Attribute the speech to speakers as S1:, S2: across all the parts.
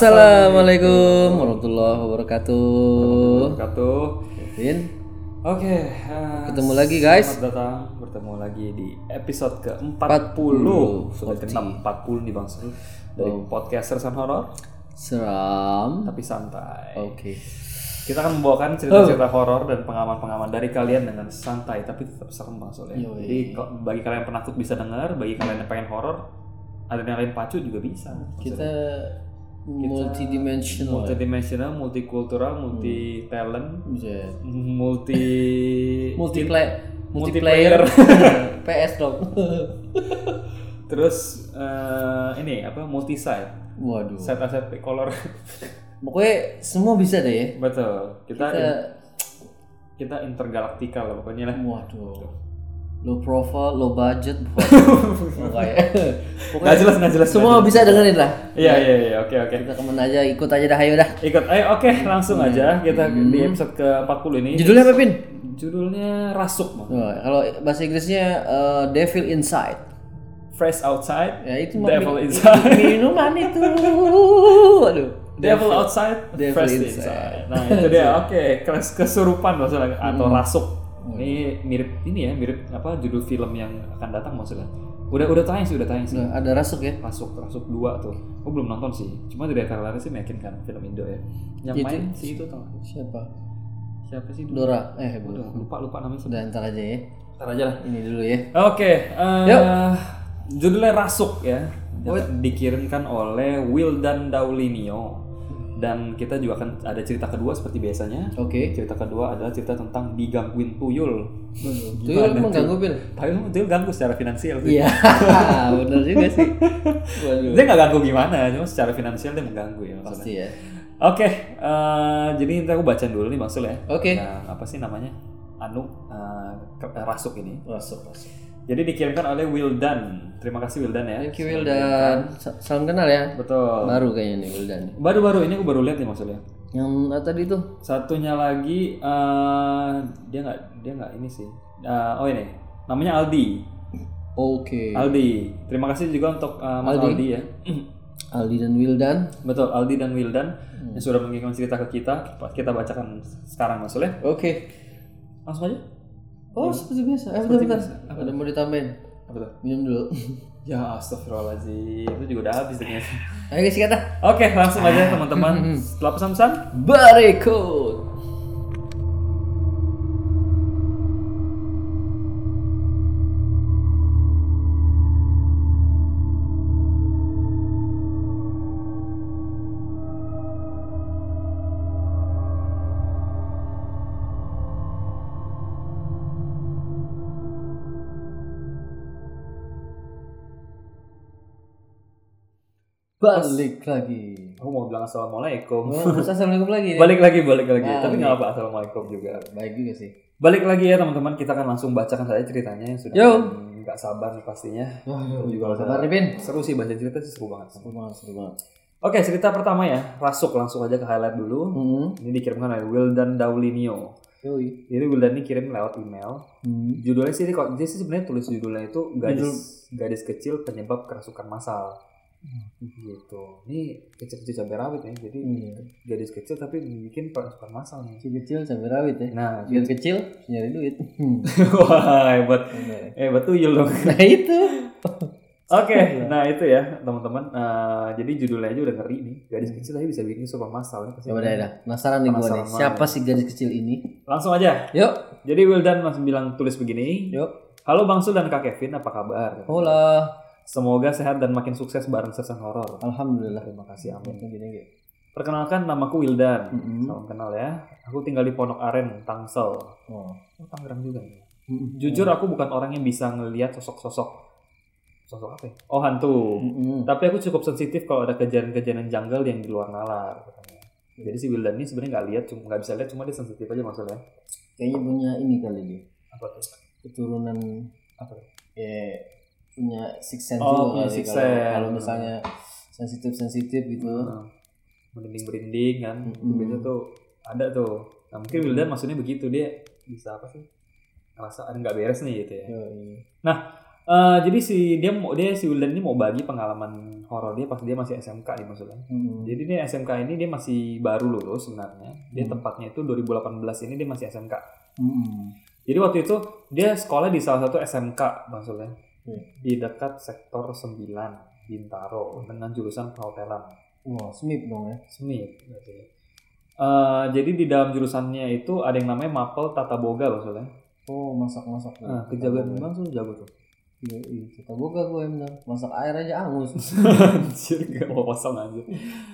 S1: Assalamualaikum warahmatullahi wabarakatuh.
S2: Katuh.
S1: Kevin,
S2: Oke, eh,
S1: Ketemu lagi, guys.
S2: Selamat datang bertemu lagi di episode ke-40.
S1: 40.
S2: Sudah cerita 40 nih Bang Seru. Dari
S1: Oh.
S2: podcaster sama horor
S1: seram.
S2: tapi santai.
S1: Oke.
S2: Kita akan membawakan cerita-cerita
S1: Oh.
S2: horor dan pengalaman-pengalaman dari kalian dengan santai tapi tetap serem Bang Seru. ya.
S1: Yoi.
S2: Jadi kalau- bagi kalian yang penakut bisa dengar, bagi kalian yang pengen horor ada yang lain pacu juga bisa.
S1: Kita multidimensional.
S2: Multidimensional, multikultural, multi talent,
S1: Bisa.
S2: multi
S1: Multiplayer.
S2: Multiplayer.
S1: PS dong.
S2: Terus eh, ini apa multi site,
S1: Waduh.
S2: set aset color.
S1: Pokoknya semua bisa deh ya.
S2: Betul. Kita
S1: Kita
S2: in- kita intergalaktikal lah pokoknya lah.
S1: waduh. Low profile, low budget. Pokoknya.
S2: Nggak jelas, nggak jelas.
S1: semua
S2: nggak
S1: bisa dengerin lah.
S2: jelas. Iya iya iya, oke oke.
S1: Kita kemana aja, ikut aja dah, ayo dah.
S2: Ikut ayo oke langsung
S1: Hmm.
S2: aja kita di episode ke-40 ini.
S1: Judulnya apa, Pin?
S2: Judulnya rasuk, Bang.
S1: Wah, kalau bahasa Inggrisnya eh, Devil Inside.
S2: Fresh outside,
S1: Ya itu mah
S2: devil
S1: mi-
S2: inside.
S1: minuman itu. Aduh.
S2: Devil outside,
S1: Devil
S2: fresh
S1: inside.
S2: inside. Hmm. Nah itu dia, oke. Kes- kesurupan maksudnya atau rasuk. Ini mirip ini ya, mirip apa judul film yang akan datang maksudnya. Udah udah tayang sih, udah tayang sih.
S1: Nah, ada rasuk ya.
S2: Rasuk rasuk dua tuh. Gue belum nonton sih. Cuma dari trailer sih meyakinkan film Indo ya. Yang
S1: Itu-
S2: main sih itu tau.
S1: Siapa?
S2: Siapa sih? dulu?
S1: Dora. Eh,
S2: Aduh,
S1: bukan.
S2: lupa lupa namanya.
S1: Udah ntar aja ya.
S2: Sebentar aja lah.
S1: Ini dulu ya.
S2: Oke, eh,
S1: Yuk.
S2: judulnya Rasuk ya. Dikirimkan oleh Wildan Daulinio. Dan kita juga akan ada cerita kedua seperti biasanya.
S1: Oke.
S2: Cerita kedua adalah cerita tentang digangguin tuyul.
S1: Tuyul mengganggu Bil.
S2: Tapi emang tuyul ganggu secara finansial. sih.
S1: Iya, benar juga sih. Waduh.
S2: Dia nggak ganggu gimana, cuma secara finansial dia mengganggu ya maksudnya.
S1: Pasti ya.
S2: Oke, eh, jadi nanti aku bacain dulu nih Bang Sul ya.
S1: Oke.
S2: Nah, apa sih namanya? Anu eh, ke- eh, rasuk ini.
S1: Rasuk, rasuk.
S2: Jadi dikirimkan oleh Wildan. Terima kasih Wildan ya.
S1: Thank you Wildan. Sa- Salam kenal ya.
S2: Betul.
S1: Baru kayaknya nih Wildan.
S2: Baru-baru ini aku baru lihat nih maksudnya.
S1: Yang ah, tadi tuh
S2: Satunya lagi eh, dia nggak dia nggak ini sih. Eh, oh ini namanya Aldi.
S1: Oke.
S2: Aldi. Terima kasih juga untuk eh, Mas Aldi. ya.
S1: Aldi dan Wildan.
S2: Betul Aldi dan Wildan yang sudah mengirimkan cerita ke kita. Kita bacakan sekarang Mas Sul ya.
S1: Oke.
S2: Langsung aja.
S1: Oh, seperti biasa. Eh, bentar, bentar. Ada mau ditambahin.
S2: Apa tuh?
S1: Minum dulu.
S2: Ya astagfirullahaladzim. Itu juga udah habis ternyata. Hmm,
S1: Ayo guys, kata.
S2: Oke, langsung aja teman-teman. Setelah pesan-pesan.
S1: Berikut. Balik lagi.
S2: Aku mau bilang assalamualaikum. Nah,
S1: Oh, terus assalamualaikum lagi. nih.
S2: Hmm. Balik lagi, balik lagi.
S1: Balik.
S2: Tapi nggak apa, assalamualaikum juga.
S1: Baik juga sih.
S2: Balik lagi ya teman-teman. Kita akan langsung bacakan saja ceritanya yang sudah
S1: Yo.
S2: nggak sabar nih pastinya.
S1: Wah,
S2: juga
S1: juga
S2: ada-
S1: sabar nih, Pin.
S2: Seru sih baca cerita sih seru banget.
S1: Seru banget, seru banget.
S2: Oke, cerita pertama ya. Rasuk langsung aja ke highlight dulu.
S1: Hmm.
S2: Ini dikirimkan oleh Wildan Daulinio.
S1: Yoi.
S2: Jadi Wildan ini kirim lewat email.
S1: Hmm.
S2: Judulnya sih, kok dia sih sebenarnya tulis judulnya itu gadis gadis kecil penyebab kerasukan massal. Gitu. Ini kecil-kecil cabai rawit ya. Jadi
S1: Iya.
S2: gadis kecil tapi bikin kerasukan massal nih.
S1: Si kecil cabai rawit ya.
S2: Nah,
S1: Biar kecil nyari duit. Hmm.
S2: wah hebat. Eh, Hebat tuyul dong. Oke,
S1: nah itu.
S2: nah itu ya teman-teman. Eh, jadi judulnya aja udah ngeri nih. Gadis kecil aja bisa bikin super masal ya. pasti.
S1: Coba deh dah. Penasaran nih gua
S2: Penasaran
S1: nih.
S2: banget.
S1: Siapa sih gadis kecil ini?
S2: Langsung aja.
S1: Yuk.
S2: Jadi Wildan langsung bilang tulis begini.
S1: Yuk.
S2: Halo Bang Sul dan Kak Kevin, apa kabar?
S1: Hola.
S2: Semoga sehat dan makin sukses bareng Sesan Horor.
S1: Alhamdulillah.
S2: Terima kasih, amin.
S1: Gini, gini. Hmm.
S2: Perkenalkan, namaku Wildan.
S1: Mm-mm.
S2: Salam kenal ya. Aku tinggal di Pondok Aren, Tangsel.
S1: Oh. Hmm.
S2: Oh, Tangerang juga ya.
S1: Mm-mm.
S2: Jujur aku bukan orang yang bisa ngelihat sosok-sosok. Sosok apa ya? Oh, hantu.
S1: Mm-mm.
S2: Tapi aku cukup sensitif kalau ada kejadian-kejadian janggal yang di luar nalar. katanya. Jadi si Wildan ini sebenarnya nggak lihat, cuma nggak bisa lihat, cuma dia sensitif aja maksudnya.
S1: Kayaknya punya ini kali dia.
S2: Apa tuh?
S1: Keturunan
S2: Apa tuh?
S1: ya punya six sense
S2: Oh,
S1: juga
S2: punya
S1: kali.
S2: sixth
S1: Kalau-
S2: sense.
S1: Kalau misalnya sensitif sensitif gitu.
S2: Nah, merinding merinding kan,
S1: Mm-mm.
S2: biasanya tuh ada tuh. Nah mungkin Wildan maksudnya begitu dia bisa apa sih? Ngerasa ada nggak beres nih gitu ya.
S1: Yoi.
S2: Nah Eh, jadi si dia mau dia si Wildan ini mau bagi pengalaman horor dia pas dia masih SMK nih maksudnya. kan. Jadi dia SMK ini dia masih baru lulus sebenarnya. Dia
S1: Hmm.
S2: tempatnya itu 2018 ini dia masih SMK.
S1: Hmm.
S2: Jadi waktu itu dia sekolah di salah satu SMK maksudnya.
S1: Hmm.
S2: kan? Di dekat sektor 9 Bintaro dengan jurusan perhotelan.
S1: Wah, smip dong ya.
S2: Smith berarti. Eh, jadi di dalam jurusannya itu ada yang namanya Mapel Tata Boga maksudnya.
S1: Oh, masak-masak.
S2: Nah, kejagoan memang tuh jago tuh.
S1: Iya, iya. Kita buka gue bener. Masak air aja angus.
S2: anjir, gak mau kosong anjir.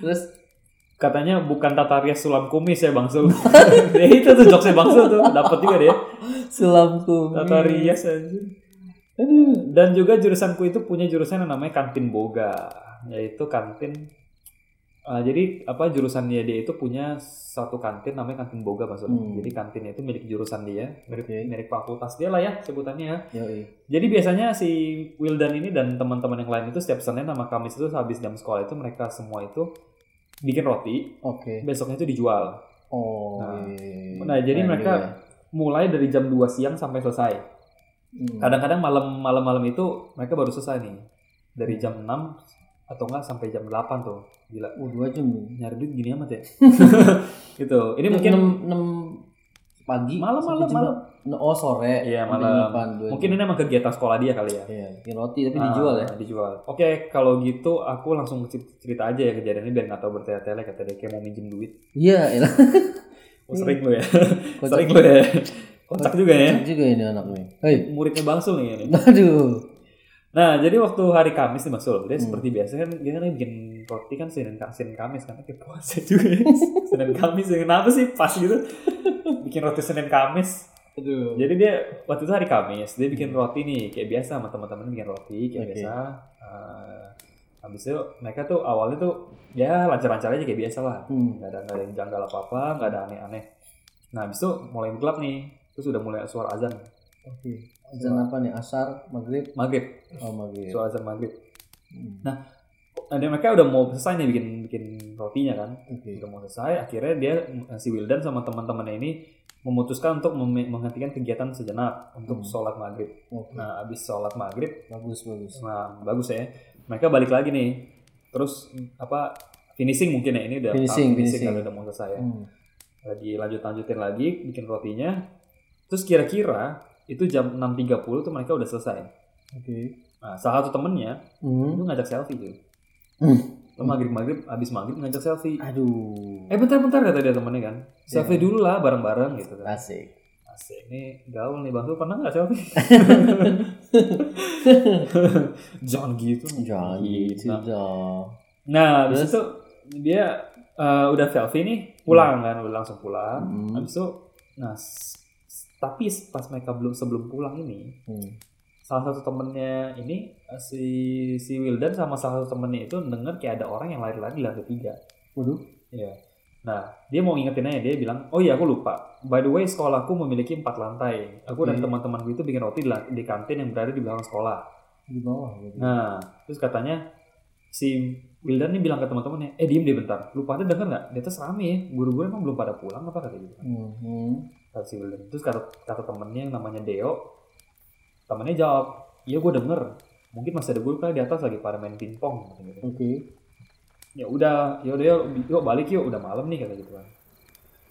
S1: Terus
S2: Katanya bukan Tata Rias sulam kumis ya Bang Sul. ya itu tuh jokesnya Bang Sul tuh, dapat juga deh.
S1: selamku.
S2: Tata Rias anjir. Dan juga jurusanku itu punya jurusan yang namanya kantin boga, yaitu kantin. eh, jadi apa jurusannya dia itu punya satu kantin namanya kantin boga maksudnya.
S1: Hmm.
S2: Jadi kantinnya itu milik jurusan dia, mirip
S1: Oke.
S2: mirip fakultas dia lah ya sebutannya. ya.
S1: Yo, iya.
S2: Jadi biasanya si Wildan ini dan teman-teman yang lain itu setiap Senin sama Kamis itu habis jam sekolah itu mereka semua itu bikin roti,
S1: Oke.
S2: besoknya itu dijual.
S1: Oh. iya,
S2: Nah.
S1: iya, iya.
S2: Nah, jadi
S1: Keren
S2: mereka-
S1: juga ya.
S2: Mulai dari jam 2 siang sampai selesai.
S1: Hmm.
S2: kadang-kadang malam malam malam itu mereka baru selesai nih dari jam 6 atau enggak sampai jam 8 tuh gila
S1: Oh, dua jam nih.
S2: nyari duit gini amat ya gitu ini mungkin
S1: enam enam pagi.
S2: malam
S1: sampai
S2: malam
S1: jam
S2: malam
S1: berapa? Oh sore.
S2: Iya,
S1: Sampai
S2: malam.
S1: delapan, dua
S2: mungkin
S1: jam.
S2: ini emang kegiatan sekolah dia kali ya
S1: Iya, bikin roti tapi dijual ya.
S2: Ah, dijual oke kalau gitu aku langsung cer- cerita aja ya kejadiannya biar nggak tahu bertele-tele kata dia kayak mau minjem duit
S1: Iya, elah.
S2: oh, sering lu ya
S1: Kocak.
S2: sering lu ya kocak juga ya
S1: Kocak juga ini anak nih. Hei.
S2: muridnya bangsul nih ini
S1: Aduh.
S2: Nah, jadi waktu hari Kamis nih Mas Sul, dia
S1: Hmm.
S2: seperti biasa kan dia kan bikin roti kan Senin, Senin Kamis karena kayak puasa juga. ya. Senin Kamis ya. kenapa sih pas gitu bikin roti Senin Kamis.
S1: Aduh.
S2: Jadi dia waktu itu hari Kamis, dia bikin roti nih kayak biasa sama teman-teman bikin roti
S1: Hmm.
S2: kayak
S1: Oke.
S2: biasa. Eh, habis itu mereka tuh awalnya tuh ya lancar-lancar aja kayak biasa lah.
S1: Hmm.
S2: Nggak ada, nggak ada yang janggal apa-apa, nggak ada aneh-aneh. Nah, habis itu mulai gelap nih. Terus udah mulai suara azan
S1: Oke. Azan apa nih? Asar, maghrib,
S2: maghrib,
S1: oh maghrib.
S2: suara azan maghrib.
S1: Hmm.
S2: Nah, dia mereka udah mau selesai nih bikin bikin rotinya kan.
S1: Oke.
S2: Udah mau selesai, akhirnya dia eh, si Wildan sama teman-temannya ini memutuskan untuk mem- menghentikan kegiatan sejenak untuk
S1: Hmm.
S2: sholat maghrib.
S1: Oke.
S2: Nah, abis sholat maghrib,
S1: Bagus bagus.
S2: nah, bagus ya. Mereka balik lagi nih. Terus apa finishing mungkin ya ini udah
S1: Finishing,
S2: finishing,
S1: finishing.
S2: kali udah mau selesai ya.
S1: Hmm.
S2: Lagi lanjut-lanjutin lagi bikin rotinya. Terus kira-kira itu jam 6.30 tuh mereka udah selesai.
S1: Oke.
S2: Nah, salah satu temennya
S1: Hmm.
S2: itu ngajak selfie tuh.
S1: Hmm.
S2: Lo maghrib-maghrib, abis maghrib ngajak selfie.
S1: Aduh.
S2: Eh bentar-bentar kata dia temennya kan. Selfie
S1: Iya.
S2: dulu lah bareng-bareng gitu kan.
S1: Asik.
S2: Asik ini gaul nih Bang Sul pernah nggak selfie? Jangan gitu.
S1: Jangan gitu
S2: Nah,
S1: dong.
S2: Nah, habis
S1: Terus?
S2: itu dia eh, udah selfie nih, pulang kan, udah langsung pulang.
S1: Hmm.
S2: Habis itu nah s- s- tapi pas mereka belum sebelum pulang ini
S1: Hmm.
S2: salah satu temennya ini eh, si si Wildan sama salah satu temennya itu denger kayak ada orang yang lari-lari di lantai tiga.
S1: Waduh.
S2: Iya. Nah, dia mau ngingetin aja dia bilang, "Oh iya, aku lupa. By the way, sekolahku memiliki empat lantai. Aku dan
S1: Oke.
S2: teman-temanku itu bikin roti di, la- di kantin yang berada di belakang sekolah."
S1: Di bawah. gitu.
S2: Nah, terus katanya si Wildan nih bilang ke teman-temannya, "Eh, diem deh bentar. Lu pada denger nggak? Di atas rame ya. Guru-guru emang belum pada pulang apa kata gitu."
S1: Hmm. Hmm.
S2: Kata si Wildan. Terus kata kata temennya yang namanya Deo, temennya jawab, "Iya, gue denger. Mungkin masih ada guru kali di atas lagi pada main pingpong." Kata gitu.
S1: Oke.
S2: ya udah ya udah yuk, yuk balik yuk udah malam nih kata gitu kan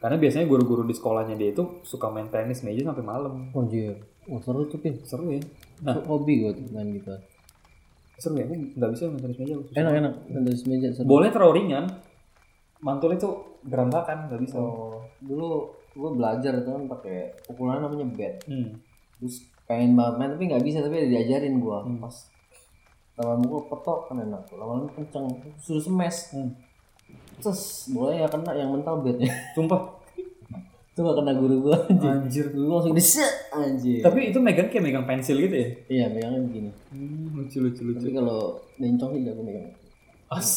S2: karena biasanya guru-guru di sekolahnya dia itu suka main tenis meja sampai malam
S1: Anjir. Wah seru tuh pin.
S2: seru ya
S1: Itu Hobi gue tuh main gitar.
S2: seru ya aku nggak bisa main tenis meja aku susah.
S1: Enak enak. Dari meja seru.
S2: boleh terlalu ringan mantulnya tuh gerambakan nggak bisa
S1: Oh, dulu gue belajar itu kan pakai pukulan namanya bat
S2: Hmm.
S1: terus pengen banget main tapi nggak bisa tapi ada diajarin gue
S2: Hmm.
S1: pas lawan gue petok kan enak tuh lawan kenceng suruh smash
S2: Hmm.
S1: terus boleh ya kena yang mental batnya
S2: sumpah
S1: itu gak kena guru gue anjir
S2: anjir
S1: gue langsung di set anjir
S2: tapi itu megang kayak megang pensil gitu ya
S1: iya megangnya begini
S2: Hmm, lucu lucu lucu
S1: tapi kalau nencong sih jago megang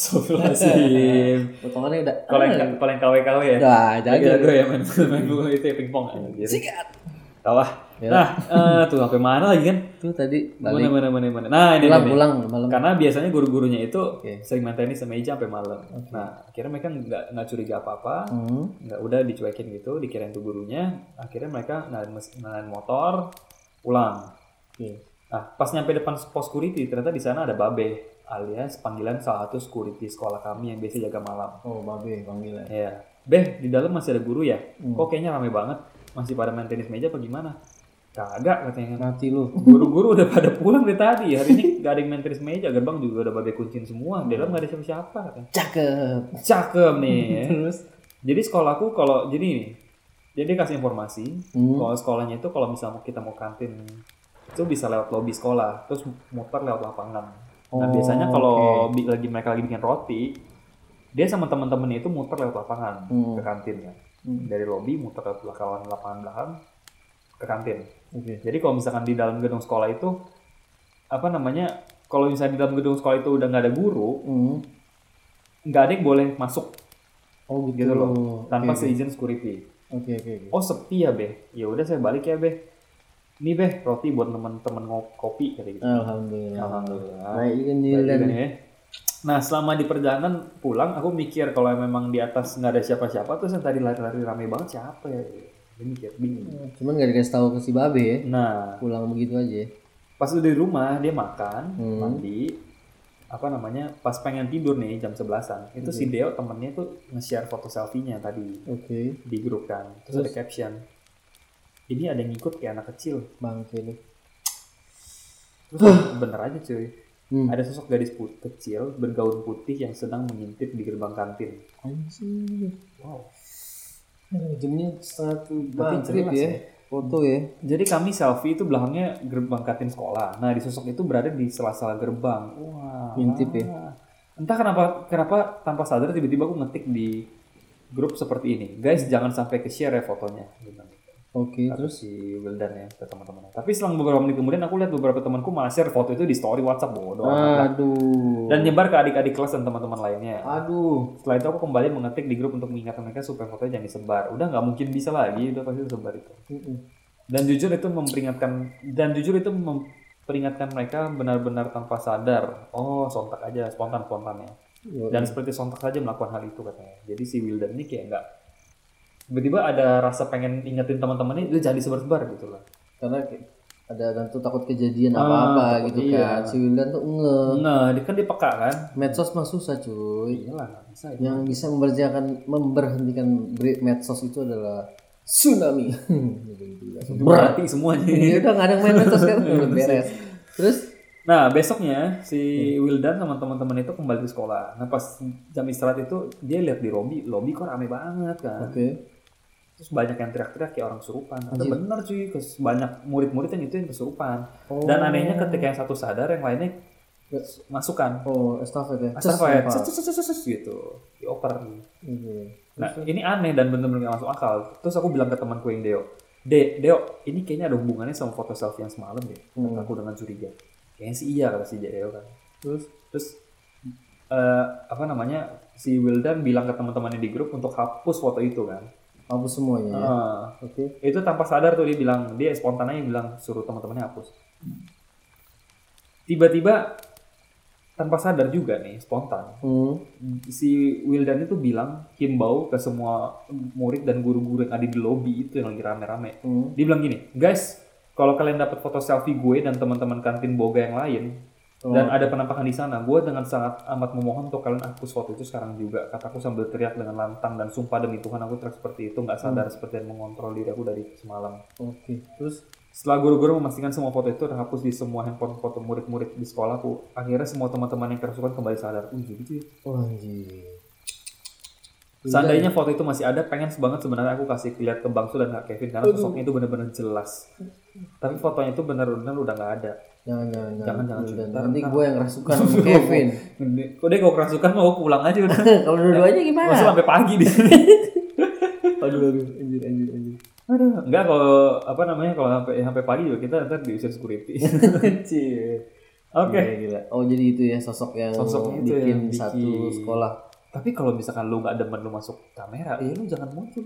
S2: astagfirullahaladzim
S1: potongannya udah ah,
S2: kalau yang kalau yang KW KW ya
S1: udah
S2: Gila
S1: jago
S2: gue ya main main bola itu ya pingpong anjir
S1: sikat
S2: tawa
S1: Ya.
S2: nah eh, tuh HP mana lagi kan
S1: tuh tadi
S2: mana
S1: balik
S2: mana mana mana nah ini
S1: pulang
S2: ini.
S1: pulang malam
S2: karena biasanya guru-gurunya itu
S1: Oke.
S2: sering main tenis sama meja sampai malam.
S1: Oke.
S2: Nah, akhirnya mereka nggak nggak curiga apa-apa,
S1: hmm.
S2: nggak udah dicuekin gitu, dikirain tuh gurunya. Akhirnya mereka ngalahin mes- ngalahin motor, pulang.
S1: Oke.
S2: Nah, pas nyampe depan pos security, ternyata di sana ada Babe, alias panggilan salah satu security sekolah kami yang biasa jaga malam.
S1: Oh, babe panggilan.
S2: Ya, Beh, di dalam masih ada guru ya?
S1: Hmm.
S2: Kok kayaknya rame banget? Masih pada main tenis meja apa gimana? Kagak katanya.
S1: Mati lu.
S2: Guru-guru udah pada pulang dari tadi. Hari ini gak ada yang main tenis meja. Gerbang juga udah babe kuncin semua. Di dalam gak ada siapa-siapa. katanya.
S1: Cakep.
S2: Cakep nih. ya.
S1: Terus?
S2: Jadi sekolahku kalau jadi nih. Jadi kasih informasi.
S1: Hmm.
S2: Kalau sekolahnya itu kalau misalnya kita mau kantin itu bisa lewat lobi sekolah, terus muter lewat lapangan. Nah
S1: Oh,
S2: biasanya kalau
S1: oke.
S2: bi- lagi mereka lagi bikin roti, dia sama teman-temannya itu muter lewat lapangan
S1: Hmm.
S2: ke kantin kan.
S1: Hmm.
S2: Dari lobi muter lewat lapangan lapangan belakang ke kantin.
S1: Oke.
S2: Jadi kalau misalkan di dalam gedung sekolah itu apa namanya? Kalau misalnya di dalam gedung sekolah itu udah nggak ada guru,
S1: Hmm.
S2: nggak ada yang boleh masuk
S1: Oh gitu,
S2: Gitu loh, tanpa
S1: Oke,
S2: seizin security.
S1: Oke oke oke.
S2: oh sepi ya beh ya udah saya balik ya beh ini beh roti buat temen-temen ngop kopi kata gitu
S1: Iya, Alhamdulillah.
S2: alhamdulillah
S1: Baik kan
S2: Baik
S1: Yulan.
S2: juga nih, ya. nah selama di perjalanan pulang aku mikir kalau memang di atas nggak ada siapa-siapa terus yang tadi lari-lari rame banget siapa ya Dia mikir bingung
S1: Cuman gak dikasih tahu ke si babe ya.
S2: nah
S1: Pulang begitu aja.
S2: pas udah di rumah dia makan
S1: Hmm.
S2: mandi apa namanya pas pengen tidur nih jam 11an itu si Deo temennya tuh nge-share foto selfie-nya tadi
S1: Oke.
S2: di grup kan terus, ada caption ini ada yang ngikut kayak anak kecil
S1: Bangke lu.
S2: terus bener aja cuy
S1: Hmm.
S2: ada sosok gadis put- kecil bergaun putih yang sedang mengintip di gerbang kantin
S1: Anjir.
S2: wow
S1: Aduh, Jamnya satu
S2: Tapi
S1: maghrib
S2: jelas
S1: ya.
S2: ya.
S1: Foto ya.
S2: jadi kami selfie itu belakangnya gerbang kantin sekolah nah di sosok itu berada di sela-sela gerbang wah
S1: Ngintip ya?
S2: entah kenapa kenapa tanpa sadar tiba-tiba aku ngetik di grup seperti ini guys jangan sampai ke share ya fotonya gitu.
S1: Oke. Terus?
S2: terus si Wildan ya ke teman-temannya tapi selang beberapa menit kemudian aku lihat beberapa temanku malah share foto itu di story WhatsApp bodoh
S1: Ah.
S2: amat lah.
S1: Aduh.
S2: dan nyebar ke adik-adik kelas dan teman-teman lainnya
S1: Aduh.
S2: Setelah itu aku kembali mengetik di grup untuk mengingatkan mereka supaya fotonya jangan disebar. Udah nggak mungkin bisa lagi, udah pasti disebar itu.
S1: Hmm,
S2: Dan jujur itu memperingatkan dan jujur itu memperingatkan mereka benar-benar tanpa sadar. Oh, sontak aja spontan spontannya. Dan seperti sontak saja melakukan hal itu katanya. Jadi si Wildan ini kayak nggak tiba-tiba ada rasa pengen ingetin teman-temannya itu jangan disebar-sebar gitu lah.
S1: karena ke- ada dan tuh takut kejadian
S2: Ah,
S1: apa-apa
S2: takut,
S1: gitu
S2: iya.
S1: kan si Wildan tuh nge
S2: Nah, dia kan dia peka kan?
S1: medsos mah susah cuy
S2: Iyalah, nggak bisa. ya. itu.
S1: yang bisa memberhentikan memberhentikan bre- medsos itu adalah tsunami berat
S2: Berarti semuanya.
S1: ya udah nggak ada yang main medsos kan udah beres terus
S2: Nah, besoknya si Wildan sama teman-teman itu kembali ke sekolah. Nah, pas jam istirahat itu dia lihat di lobi, lobi kok rame banget kan.
S1: oke
S2: Terus banyak yang teriak-teriak kayak orang kesurupan. Ada
S1: Anjir.
S2: bener cuy, kes- banyak murid-murid yang itu yang kesurupan.
S1: Oh.
S2: Dan anehnya ketika yang satu sadar, yang lainnya
S1: Yes.
S2: masukkan.
S1: oh estafet ya
S2: Asal kayak
S1: Cus, lempar.
S2: "Cus, cus, cus, cus, cus," gitu, dioper.
S1: Oke.
S2: Nah, ini aneh dan bener-bener gak masuk akal. Terus aku bilang ke temanku yang Deo, De, Deo, ini kayaknya ada hubungannya sama foto selfie yang semalam deh.
S1: Hmm.
S2: Aku dengan curiga. Kayaknya sih iya kata si Deo kan.
S1: terus
S2: terus eh, apa namanya si Wildan bilang ke teman-temannya di grup untuk hapus foto itu kan
S1: hapus semuanya ya.
S2: Eh,
S1: oke
S2: itu tanpa sadar tuh dia bilang dia spontan aja bilang suruh teman-temannya hapus tiba-tiba tanpa sadar juga nih spontan
S1: hmm.
S2: si Wildan itu bilang himbau ke semua murid dan guru-guru yang ada di lobi itu yang lagi rame-rame
S1: hmm.
S2: dia bilang gini guys kalau kalian dapat foto selfie gue dan teman-teman kantin boga yang lain
S1: Oh.
S2: dan ada penampakan di sana. Gue dengan sangat amat memohon untuk kalian hapus foto itu sekarang juga. Kataku sambil teriak dengan lantang dan sumpah demi Tuhan aku teriak seperti itu nggak sadar seperti yang mengontrol diri aku dari semalam.
S1: oke terus
S2: Setelah guru-guru memastikan semua foto itu terhapus di semua handphone foto murid-murid di sekolahku, akhirnya semua teman-teman yang kerasukan kembali sadar. Uh, gitu ya.
S1: oh, anjir
S2: Seandainya foto itu masih ada, pengen banget sebenarnya aku kasih lihat ke Bangsu dan Kak Kevin karena sosoknya itu benar-benar jelas. Tapi fotonya itu benar-benar udah nggak ada.
S1: jangan jangan
S2: Jangan, jangan,
S1: Wildan.
S2: Ntar,
S1: nanti
S2: ntar.
S1: gue yang rasukan sama Kevin
S2: Udah kalau kerasukan mau pulang aja udah.
S1: kalau dua-duanya gimana
S2: Masuk sampai pagi di sini.
S1: aduh aduh anjir anjir anjir
S2: Aduh, enggak kalau apa namanya kalau sampai sampai pagi juga kita ntar diusir security. Iya.
S1: kecil
S2: Oke.
S1: Gila, gila. Oh jadi itu ya sosok yang
S2: Sosok itu
S1: bikin
S2: yang bikin.
S1: satu sekolah.
S2: Tapi kalau misalkan lu nggak demen lu masuk kamera, ya lu jangan muncul.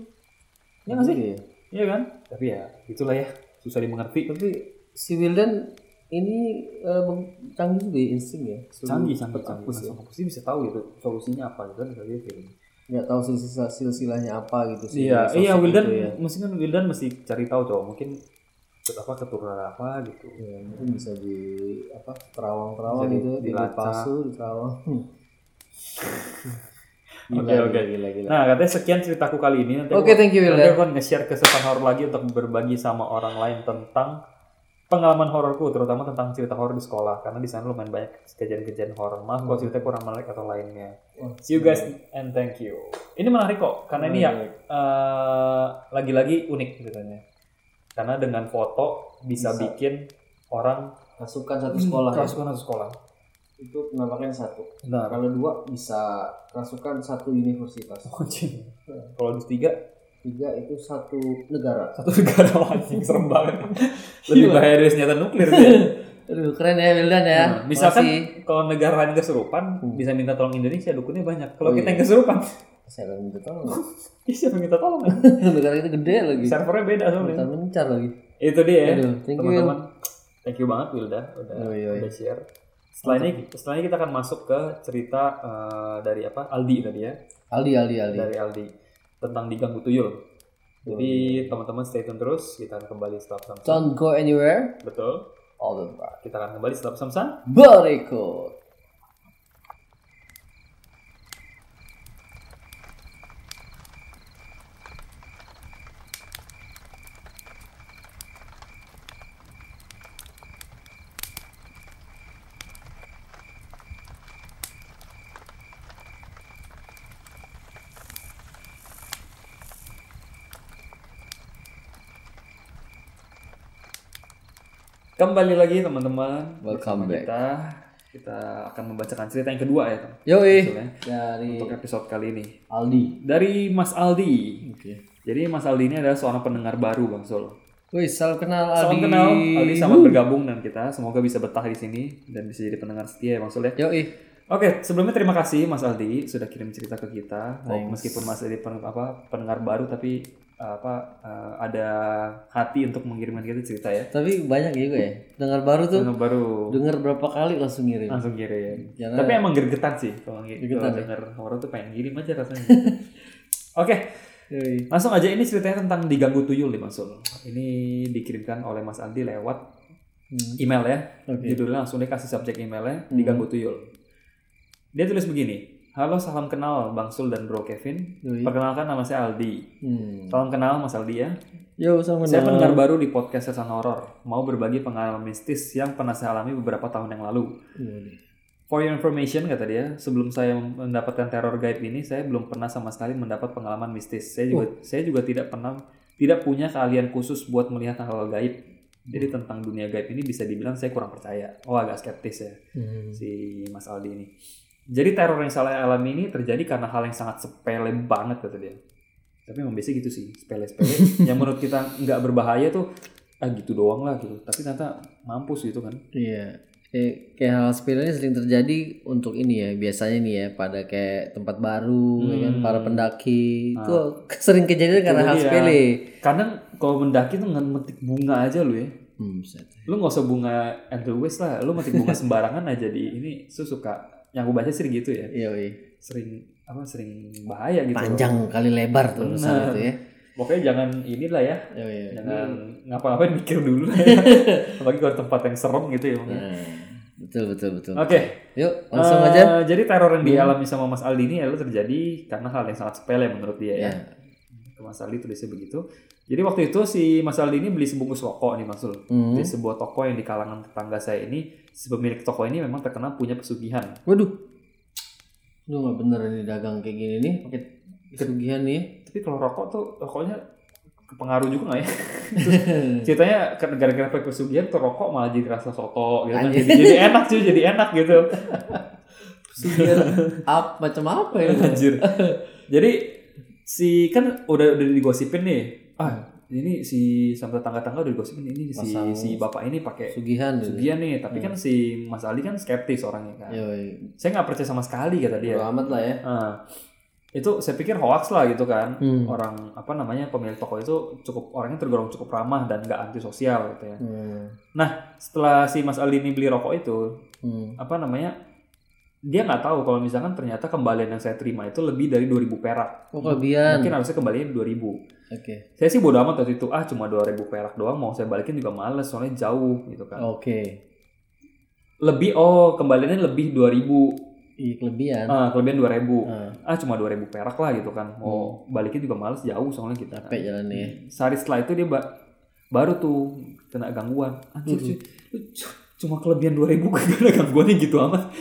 S2: Ya nggak sih?
S1: Iya.
S2: Iya kan? Tapi ya itulah ya susah dimengerti.
S1: Tapi si Wildan ini eh, meng- canggih juga ya, insting ya. Suruh
S2: Canggih
S1: cepet
S2: canggih canggih.
S1: hapus ya.
S2: Langsung hapus, dia bisa tahu gitu solusinya apa gitu kan kalau dia kayak gini.
S1: Nggak tahu silsilah silsilahnya apa gitu sih.
S2: Iya,
S1: sosok
S2: iya
S1: itu
S2: Wildan
S1: ya.
S2: mesti kan Wildan mesti cari tahu coba mungkin ket- apa keturunan apa gitu
S1: Ya, mungkin bisa di apa terawang-terawang
S2: Bisa di-
S1: gitu, di
S2: dilacak.
S1: pasu, di terawang. Gila,
S2: Oke, oke.
S1: gila, gila.
S2: nah katanya sekian ceritaku kali ini nanti
S1: Oke,
S2: aku-
S1: thank you
S2: nanti
S1: Wildan.
S2: aku akan nge-share ke Sepan Horror lagi untuk berbagi sama orang lain tentang pengalaman hororku terutama tentang cerita horor di sekolah karena di sana lumayan banyak kejadian-kejadian horor maaf kalau cerita kurang menarik atau lainnya
S1: Wah,
S2: see you guys and thank you ini menarik kok karena ini ya eh, lagi-lagi unik ceritanya karena dengan foto bisa,
S1: Bisa.
S2: bikin orang
S1: Masukkan satu sekolah. ya.
S2: kerasukan satu sekolah
S1: Itu penampakan satu.
S2: benar
S1: Kalau dua bisa kerasukan satu universitas.
S2: Anjing. Kalau di tiga,
S1: Tiga itu satu negara.
S2: satu negara anjing serem banget. Lebih
S1: Gila.
S2: bahaya dari senjata nuklir dia.
S1: Aduh, keren ya Wildan ya.
S2: Nah, misalkan kalau negara lain kesurupan,
S1: Hmm.
S2: bisa minta tolong Indonesia, dukunnya banyak. Kalau
S1: Oh,
S2: kita
S1: iya.
S2: yang kesurupan,
S1: saya akan minta tolong.
S2: ih, siapa yang minta tolong?
S1: negara itu gede lagi.
S2: Servernya beda
S1: Kita
S2: soalnya.
S1: mencar lagi.
S2: Itu dia ya,
S1: Aduh, thank you. Wil.
S2: teman-teman. Thank you banget Wilda udah,
S1: Oh, iya, iya.
S2: udah share. Setelahnya, setelahnya kita akan masuk ke cerita eh, dari apa Aldi tadi ya,
S1: Aldi, Aldi, Aldi.
S2: dari Aldi tentang diganggu tuyul. Jadi teman-teman stay tune terus, kita akan kembali setelah Samsung.
S1: Don't go anywhere.
S2: Betul.
S1: All the way.
S2: Kita akan kembali setelah Samsung.
S1: Berikut.
S2: Kembali lagi teman-teman.
S1: Welcome
S2: Bersama
S1: back.
S2: Kita kita akan membacakan cerita yang kedua ya, teman.
S1: Yoi.
S2: Maksudnya,
S1: Dari
S2: Untuk episode kali ini
S1: Aldi.
S2: dari Mas Aldi.
S1: Oke.
S2: Jadi Mas Aldi ini adalah seorang pendengar baru Bang Sol.
S1: Wih, salam kenal Aldi.
S2: Salam kenal Aldi
S1: Wuh.
S2: selamat bergabung dengan kita. Semoga bisa betah di sini dan bisa jadi pendengar setia ya Bang Sol ya.
S1: Yoi.
S2: Oke, sebelumnya terima kasih Mas Aldi sudah kirim cerita ke kita.
S1: Thanks.
S2: Meskipun Mas Aldi pen- apa pendengar baru tapi apa eh, ada hati untuk mengirimkan kita cerita ya.
S1: Tapi banyak juga ya. Dengar baru tuh.
S2: Pendengar baru.
S1: Dengar berapa kali langsung ngirim.
S2: langsung kirim.
S1: Karena-
S2: Tapi emang gergetan sih kalau ngi-
S1: Gergetan
S2: kalau
S1: ya?
S2: denger horor tuh pengen ngirim aja rasanya. Oke,
S1: Yoi.
S2: langsung aja ini ceritanya tentang diganggu tuyul nih Mas Sul. Ini dikirimkan oleh Mas Aldi lewat
S1: Hmm.
S2: email ya.
S1: Oke.
S2: Judulnya langsung dia kasih subjek emailnya
S1: Hmm.
S2: diganggu tuyul. Dia tulis begini. Halo, salam kenal Bang Sul dan Bro Kevin.
S1: Yoi.
S2: Perkenalkan nama saya Aldi.
S1: Hmm.
S2: Salam kenal Mas Aldi ya.
S1: Yo, salam kenal.
S2: Saya pendengar baru di podcast Sesan Horor. Mau berbagi pengalaman mistis yang pernah saya alami beberapa tahun yang lalu.
S1: Yoi.
S2: For your information kata dia, sebelum saya mendapatkan teror gaib ini, saya belum pernah sama sekali mendapat pengalaman mistis. Saya juga saya juga tidak pernah tidak punya keahlian khusus buat melihat hal-hal gaib. Jadi tentang dunia gaib ini bisa dibilang saya kurang percaya. Oh agak skeptis ya
S1: Hmm.
S2: si Mas Aldi ini. Jadi teror yang saya alami ini terjadi karena hal yang sangat sepele banget kata dia. Tapi memang biasanya gitu sih, sepele-sepele. yang menurut kita nggak berbahaya tuh, ah gitu doang lah gitu. Tapi ternyata mampus gitu kan.
S1: Iya. Eh, kayak hal sepele ini sering terjadi untuk ini ya biasanya nih ya pada kayak tempat baru ya kan
S2: Hmm. Ah. ya.
S1: para pendaki itu sering kejadian karena hal
S2: dia.
S1: sepele.
S2: kadang kalau mendaki tuh dengan metik bunga aja lu ya
S1: Hmm, set.
S2: lu nggak usah bunga Andrew West lah lu metik bunga sembarangan aja di ini tuh suka yang aku baca sih gitu ya
S1: Yoi.
S2: sering apa sering bahaya gitu
S1: Iya, Panjang kali lebar tuh urusan
S2: Benar.
S1: itu ya. Iya, Nah,
S2: pokoknya jangan inilah ya
S1: Yoi.
S2: jangan ngapa-ngapain mikir dulu lah ya. apalagi kalau tempat yang serem gitu ya oke
S1: Nah, betul betul betul.
S2: Ah.
S1: Yuk, langsung
S2: eh,
S1: aja. Hmm.
S2: jadi teror yang dialami sama Mas Aldi ini ya lu terjadi karena hal yang sangat sepele menurut dia ya.
S1: Ya.
S2: Mas Aldi tulisnya begitu. Jadi waktu itu si Mas Aldi ini beli sebungkus rokok nih Mas Ul.
S1: Hmm.
S2: di sebuah toko yang di kalangan tetangga saya ini si pemilik toko ini memang terkenal punya pesugihan
S1: Waduh. Lu nggak bener ini dagang kayak gini nih, pakai kerugian nih. ya.
S2: tapi kalau rokok tuh rokoknya pengaruh juga nggak ya
S1: Iya.
S2: ceritanya kan gara-gara pakai pesugihan tuh rokok malah jadi rasa soto gitu kan
S1: Anjir.
S2: jadi, jadi enak cuy jadi enak gitu
S1: Pesugihan up macam apa ya?
S2: anjir jadi si kan udah udah digosipin nih ah ini si sama tetangga-tetangga udah digosipin ini si
S1: Pasang-
S2: si bapak ini pakai
S1: Pesugihan gitu.
S2: pesugihan nih tapi kan si Mas Ali kan skeptis
S1: Iya,
S2: orangnya kan
S1: Yoi.
S2: saya nggak percaya sama sekali kata dia
S1: Bodo amat lah ya.
S2: Ah. itu saya pikir hoax lah gitu kan
S1: Hmm.
S2: orang apa namanya pemilik toko itu cukup orangnya tergolong cukup ramah dan nggak antisosial gitu ya
S1: Hmm.
S2: setelah si Mas Ali ini beli rokok itu
S1: Hmm.
S2: apa namanya dia nggak tahu kalau misalkan ternyata kembalian yang saya terima itu lebih dari 2000 perak.
S1: Oh, kelebihan.
S2: Mungkin harusnya kembalian 2000.
S1: Oke.
S2: Saya sih bodo amat waktu itu, ah cuma 2000 perak doang mau saya balikin juga males soalnya jauh gitu kan.
S1: Oke.
S2: Lebih oh kembaliannya lebih 2000,
S1: Iya kelebihan.
S2: ah kelebihan 2000.
S1: Ah,
S2: Ah cuma 2000 perak lah gitu kan. Mau balikin juga males jauh soalnya kita.
S1: Hmm. capek ya. jalannya.
S2: Sehari setelah itu dia ba- baru tuh kena gangguan. Anjir,
S1: Mm-mm.
S2: cuy, lu c- cuma kelebihan 2000 kok kena gangguannya gitu amat.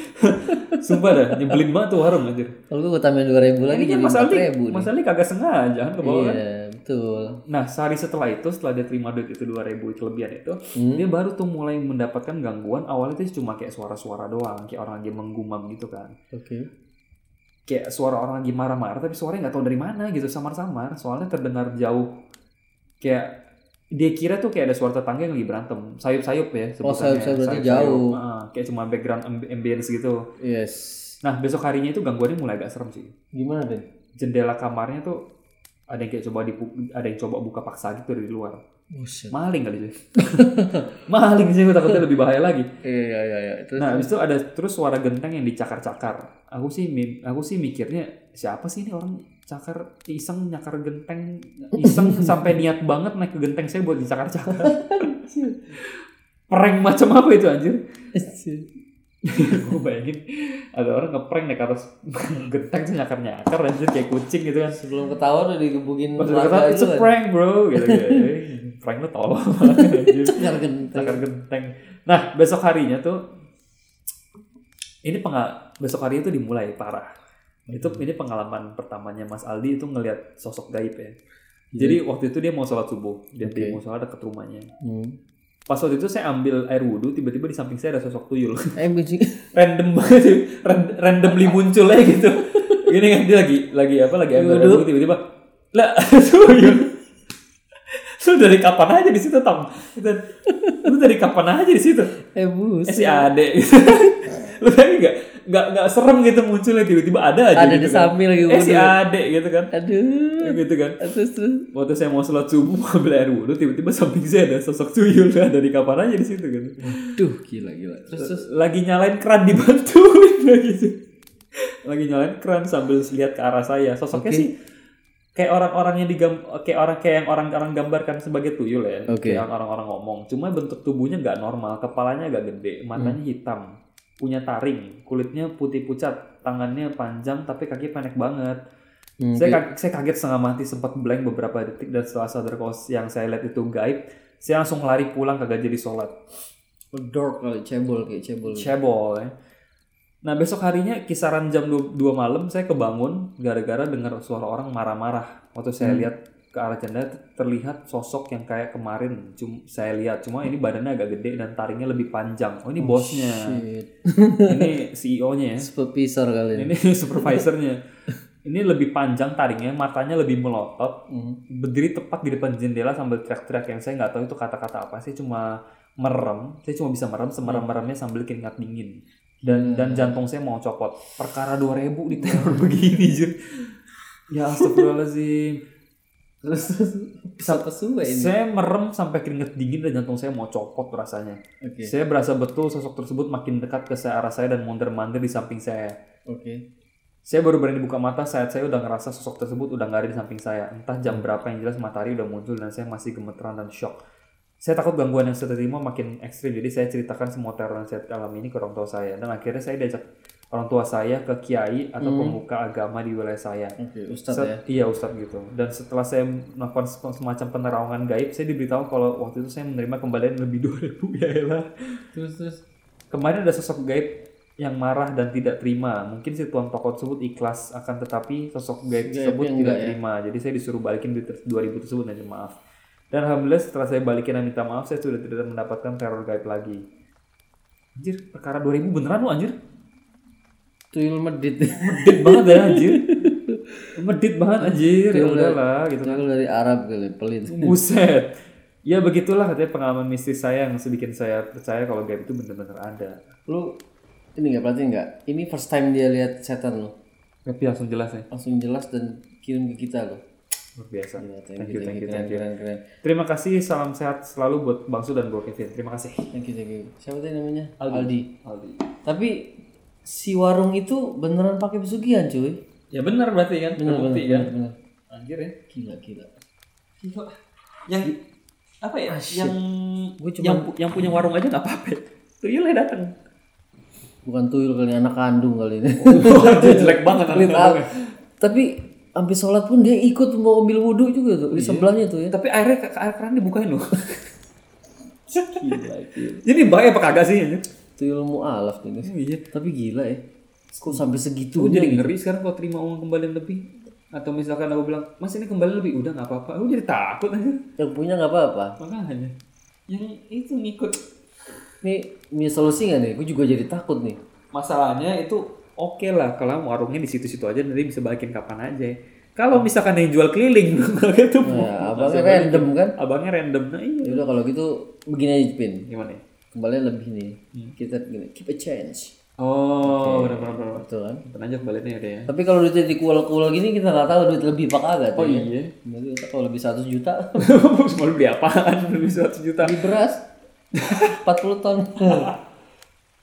S2: Sumpah dah, nyebelin banget tuh harum anjir.
S1: Kalau gue tambahin dua ribu lagi
S2: Ini kan
S1: jadi
S2: Mas
S1: empat
S2: Ali,
S1: ribu.
S2: Mas Ali kagak sengaja kan ke bawah kan.
S1: Iya betul.
S2: Nah, sehari setelah itu, setelah dia terima duit itu 2000 kelebihan itu,
S1: Hmm.
S2: dia baru tuh mulai mendapatkan gangguan. Awalnya itu cuma kayak suara-suara doang, kayak orang lagi menggumam gitu kan.
S1: Oke.
S2: Kayak suara orang lagi marah-marah, tapi suaranya nggak tahu dari mana gitu, samar-samar. Soalnya terdengar jauh, kayak dia kira tuh kayak ada suara tetangga yang lagi berantem, sayup-sayup ya sebutannya.
S1: Oh, sayup-sayup berarti jauh.
S2: Ah, kayak cuma background amb- ambience gitu.
S1: Yes.
S2: Nah, besok harinya itu gangguannya mulai agak serem sih.
S1: Gimana deh?
S2: jendela kamarnya tuh ada yang kayak coba dipu- ada yang coba buka paksa gitu dari luar
S1: Buset.
S2: maling kali cuy maling sih gue takutnya lebih bahaya lagi
S1: Iya iya iya. Terus
S2: nah habis itu ada terus suara genteng yang dicakar-cakar aku sih mi- aku sih mikirnya siapa sih ini orang cakar iseng nyakar genteng iseng sampai niat banget naik ke genteng saya buat dicakar-cakar prank macam apa itu anjir gue bayangin ada orang ngeprank naik atas genteng terus nyakar-nyakar anjir kayak kucing gitu kan
S1: sebelum ketahuan udah digebukin
S2: Pas udah kata,
S1: warga itu
S2: it's a
S1: kan.
S2: prank bro gitu gitu. prank lu tolong.
S1: Cakar genteng.
S2: Cakar genteng. Nah, besok harinya tuh ini pengal besok hari itu dimulai parah. Itu ini pengalaman pertamanya Mas Aldi itu ngelihat sosok gaib ya. Jadi waktu itu dia mau sholat subuh, dia
S1: Iya. Oke.
S2: mau sholat dekat rumahnya.
S1: Hmm.
S2: Pas waktu itu saya ambil air wudhu, tiba-tiba di samping saya ada sosok tuyul.
S1: Eh biji.
S2: random banget sih, ran- randomly muncul aja gitu. Gini kan dia lagi lagi apa lagi ambil air
S1: Duduk.
S2: wudhu, tiba-tiba lah tuyul. Lu dari kapan aja di situ Tom? Dan, Lu dari kapan aja di situ?
S1: Eh bus.
S2: Eh si Ade. Lu bayangin nggak? Nggak nggak serem gitu munculnya tiba-tiba ada aja.
S1: Ada
S2: gitu
S1: di
S2: kan.
S1: samping lagi.
S2: Eh si
S1: bodoh.
S2: Ade gitu kan?
S1: Aduh.
S2: Gitu kan?
S1: Terus terus.
S2: Waktu saya mau sholat subuh mau ambil air wudhu, tiba-tiba samping saya ada sosok tuyul kan dari kapan aja di situ gitu.
S1: Duh gila gila. Terus terus.
S2: lagi nyalain keran dibantuin lagi sih. Lagi nyalain keran sambil lihat ke arah saya. Sosoknya
S1: Oke.
S2: sih kayak orang-orang yang digam kayak orang kayak yang orang-orang gambarkan sebagai tuyul ya.
S1: Oke.
S2: Kayak orang-orang ngomong. Cuma bentuk tubuhnya nggak normal, kepalanya agak gede, matanya
S1: Hmm.
S2: hitam, punya taring, kulitnya putih pucat, tangannya panjang tapi kaki pendek banget.
S1: Hmm,
S2: Saya, kag- saya kaget setengah mati sempat blank beberapa detik dan setelah sadar kalau yang saya lihat itu gaib, saya langsung lari pulang kagak jadi sholat.
S1: Dork kali cebol kayak cebol.
S2: Cebol ya. Nah besok harinya kisaran jam 2, malam saya kebangun gara-gara dengar suara orang marah-marah. Waktu saya
S1: Hmm.
S2: lihat ke arah jendela terlihat sosok yang kayak kemarin cum saya lihat cuma ini badannya agak gede dan taringnya lebih panjang. Oh ini bosnya,
S1: Shit.
S2: ini CEO-nya ya.
S1: Supervisor kali.
S2: Ini supervisornya. Ini lebih panjang taringnya, matanya lebih melotot,
S1: Hmm.
S2: berdiri tepat di depan jendela sambil teriak-teriak yang saya nggak tahu itu kata-kata apa. Saya cuma merem, saya cuma bisa merem, semerem-meremnya sambil keringat dingin dan dan jantung saya mau copot perkara 2000 diteror begini jir ya astagfirullahaladzim
S1: terus terus. Siapa suwe ini?
S2: saya merem sampai keringet dingin dan jantung saya mau copot rasanya
S1: Oke.
S2: saya berasa betul sosok tersebut makin dekat ke arah saya dan mondar mandir di samping saya
S1: Oke.
S2: saya baru berani buka mata saat saya udah ngerasa sosok tersebut udah nggak ada di samping saya entah jam berapa yang jelas matahari udah muncul dan saya masih gemeteran dan shock saya takut gangguan yang saya terima makin ekstrim jadi saya ceritakan semua teror yang saya alami ini ke orang tua saya dan akhirnya saya diajak orang tua saya ke kiai atau
S1: Hmm.
S2: pemuka agama di wilayah saya
S1: Oke, Ustaz
S2: Set-
S1: ya.
S2: Iya Ustadz gitu. Dan setelah saya melakukan se- semacam penerawangan gaib, saya diberitahu kalau waktu itu saya menerima kembalian lebih 2000 ya elah.
S1: Terus terus.
S2: Kemarin ada sosok gaib yang marah dan tidak terima. Mungkin si tuan tokoh tersebut ikhlas akan tetapi sosok gaib,
S1: Gaibnya
S2: tersebut
S1: enggak
S2: tidak
S1: ya?
S2: terima. Jadi saya disuruh balikin duit ter- 2000 tersebut dan maaf. Dan alhamdulillah setelah saya balikin dan minta maaf, saya sudah tidak mendapatkan teror gaib lagi. Anjir, perkara 2000 beneran lu anjir.
S1: Tuyul medit.
S2: Medit banget ya anjir. Medit banget anjir. Ya
S1: Tuyul dari-
S2: udahlah gitu kan.
S1: Tuyul dari Arab kali, pelit.
S2: Buset. Ya begitulah katanya pengalaman mistis saya yang bikin saya percaya kalau gaib itu bener-bener ada.
S1: Lu ini nggak perhatiin nggak? Ini first time dia lihat setan lo.
S2: Tapi langsung jelas ya.
S1: Langsung jelas dan kirim ke kita lo.
S2: Luar biasa.
S1: Gila,
S2: Thank you, thank you,
S1: keren,
S2: thank
S1: gitu,
S2: you.
S1: keren, keren.
S2: Terima kasih, salam sehat selalu buat Bang Su dan Bro Kevin. Terima kasih.
S1: Thank you, thank you. Siapa tadi namanya? Aldi.
S2: Aldi.
S1: Tapi si warung itu beneran pakai pesugihan cuy
S2: Ya benar berarti kan,
S1: bener
S2: terbukti
S1: bener,
S2: kan.
S1: bener, bener.
S2: Anjir ya.
S1: gila gila
S2: Gila. Yang apa ya?
S1: Ah, shit.
S2: yang
S1: Gua cuman-
S2: yang pu- yang punya warung aja nggak apa-apa. Tuyulnya iya datang.
S1: bukan tuyul kali anak kandung kali ini
S2: Oh, Waduh jelek banget anak
S1: Literal. tapi hampir sholat pun dia ikut mau ambil wudhu juga tuh di
S2: Iya.
S1: sebelahnya tuh ya
S2: Tapi airnya ke air keran dibukain loh. Jadi baik Iya. apa kagak sih? anjir?
S1: tuyul mualaf tuh ini
S2: Iya.
S1: tapi gila ya kok sampai
S2: Gue
S1: segitu
S2: jadi ngeri sekarang kalau terima uang kembalian lebih atau misalkan aku bilang mas ini kembali lebih udah nggak apa-apa aku jadi takut aja
S1: yang punya nggak apa-apa
S2: makanya yang itu ngikut
S1: nih punya solusi nggak nih gue juga jadi takut nih
S2: masalahnya itu oke lah kalau warungnya di situ-situ aja nanti bisa balikin kapan aja kalau misalkan yang jual keliling gitu
S1: nah, abangnya random kan
S2: abangnya random nah iya
S1: ya udah kalau gitu begini aja pin
S2: gimana ya
S1: kembali lebih nih
S2: Iya.
S1: kita gini keep a change
S2: oh benar-benar
S1: gitu kan
S2: Simpen aja kembaliannya udah ya
S1: tapi kalau duitnya dikual-kual gini kita nggak tahu duit lebih apa kagak tuh ya.
S2: iya
S1: Berarti kita kalau lebih 100 juta
S2: mau beli apaan beli 100 juta
S1: beli beras 40 ton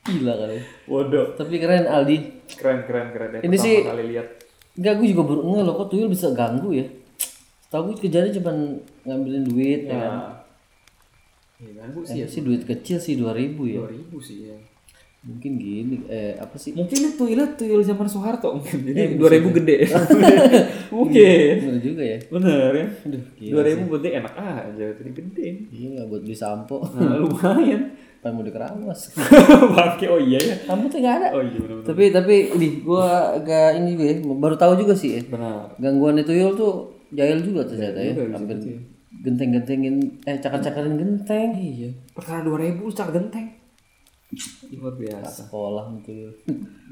S1: gila kali
S2: waduh
S1: tapi keren Aldi
S2: keren keren keren ya.
S1: Ini
S2: pertama
S1: sih-
S2: kali lihat
S1: enggak gue juga baru ngeh loh kok tuyul bisa ganggu ya tahu gue kerjanya cuma ngambilin duit ya, kan?
S2: Nah. iya kan bu
S1: Tapi
S2: sih ya
S1: sih duit kecil sih 2000 ya
S2: 2000 sih ya
S1: mungkin gini eh apa sih
S2: mungkin itu tuyul tuyul zaman Soeharto mungkin jadi 2000 gede mungkin
S1: bener juga ya
S2: bener ya
S1: gila
S2: dua ribu gede enak aja tadi gede
S1: iya buat beli sampo
S2: nah, lumayan
S1: pengen mau dikeramas
S2: pakai oh iya ya
S1: kamu tuh nggak ada
S2: oh iya benar
S1: tapi tapi ini gua agak ini juga ya baru tahu juga sih ya
S2: benar
S1: gangguan itu tuyul tuh jahil juga ternyata ya
S2: Iya,
S1: hampir genteng-gentengin eh cakar-cakarin genteng iya
S2: perkara dua ribu cak genteng Ih, luar biasa
S1: sekolah tuyul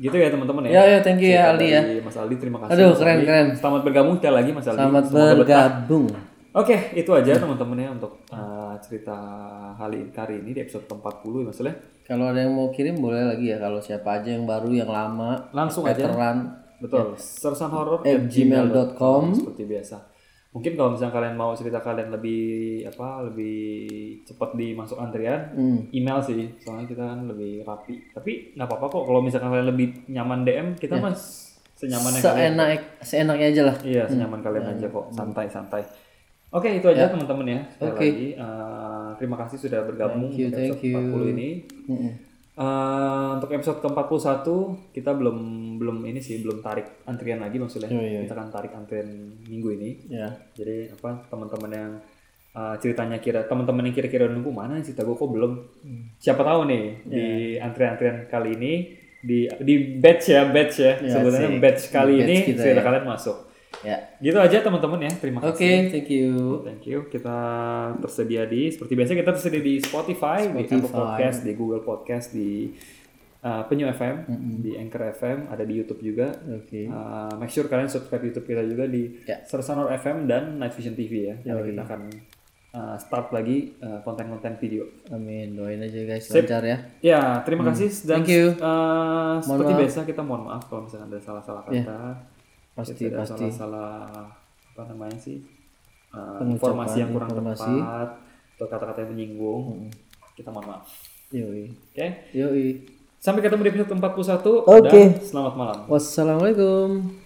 S2: gitu ya teman-teman ya
S1: ya ya thank you ya Aldi ya
S2: Dari Mas Aldi terima kasih
S1: aduh
S2: Mas
S1: keren
S2: Aldi.
S1: keren
S2: selamat bergabung sekali lagi Mas Aldi
S1: selamat
S2: Semoga betah.
S1: bergabung
S2: Oke, itu aja teman-teman ya untuk uh, cerita kali kali ini di episode 40 ya Mas Aldi.
S1: kalau ada yang mau kirim boleh lagi ya kalau siapa aja yang baru yang lama
S2: Langsung aja. Oh, iya,
S1: veteran
S2: Betul. Sersan horor
S1: At gmail.com.
S2: seperti biasa. Mungkin kalau misalnya kalian mau cerita kalian lebih apa lebih cepat dimasuk antrian,
S1: hmm.
S2: email sih. Soalnya kita kan lebih rapi. Tapi nggak apa-apa kok kalau misalkan kalian lebih nyaman DM, kita
S1: Ya.
S2: mas senyamannya kalian.
S1: seenak seenaknya aja lah
S2: Iya, senyaman kalian
S1: Hmm.
S2: aja kok. Santai-santai. Oke, itu aja teman-teman ya. Sekali
S1: Oke.
S2: lagi eh, terima kasih sudah bergabung
S1: Thank you,
S2: di
S1: thank you.
S2: episode 40 ini.
S1: Mm-mm.
S2: Eh, untuk episode ke-41 kita belum belum ini sih belum tarik antrian lagi maksudnya.
S1: Iya, iya.
S2: Kita akan tarik antrian minggu ini.
S1: ya
S2: Jadi apa teman-teman yang eh, ceritanya kira teman-teman yang kira-kira nunggu mana cerita gue kok belum.
S1: Hmm.
S2: Siapa tahu nih
S1: Iya.
S2: di antrian-antrian kali ini di di batch ya batch ya.
S1: Iya,
S2: Sebenarnya
S1: sih.
S2: batch kali
S1: Batch
S2: ini
S1: kita ya.
S2: cerita kalian masuk.
S1: ya
S2: Gitu aja teman-teman ya. Terima
S1: oke
S2: kasih.
S1: thank you
S2: Thank you. Kita tersedia di seperti biasa kita tersedia di Spotify, di Apple
S1: Spotify.
S2: Podcast, di Google Podcast, di uh, Penyu FM, di Anchor FM, ada di YouTube juga.
S1: oke
S2: Uh, make sure kalian subscribe YouTube kita juga di
S1: Ya.
S2: Sersanor FM dan Night Vision TV ya. Karena
S1: Yoi.
S2: kita akan uh, start lagi uh, konten-konten video.
S1: amin doain aja guys
S2: Sip.
S1: lancar ya
S2: Ya, terima kasih dan
S1: Thank you.
S2: uh, seperti
S1: maaf.
S2: biasa kita mohon maaf kalau misalnya ada salah-salah kata.
S1: Ya. Pasti,
S2: Kita ada
S1: pasti.
S2: Salah-salah apa namanya sih? Uh,
S1: Pengucapan,
S2: informasi Hmm. yang kurang
S1: informasi.
S2: tepat atau kata-kata yang menyinggung. Kita mohon maaf.
S1: yoi
S2: Oke.
S1: yoi
S2: Sampai ketemu di episode 41
S1: Oke.
S2: dan selamat malam.
S1: wassalamualaikum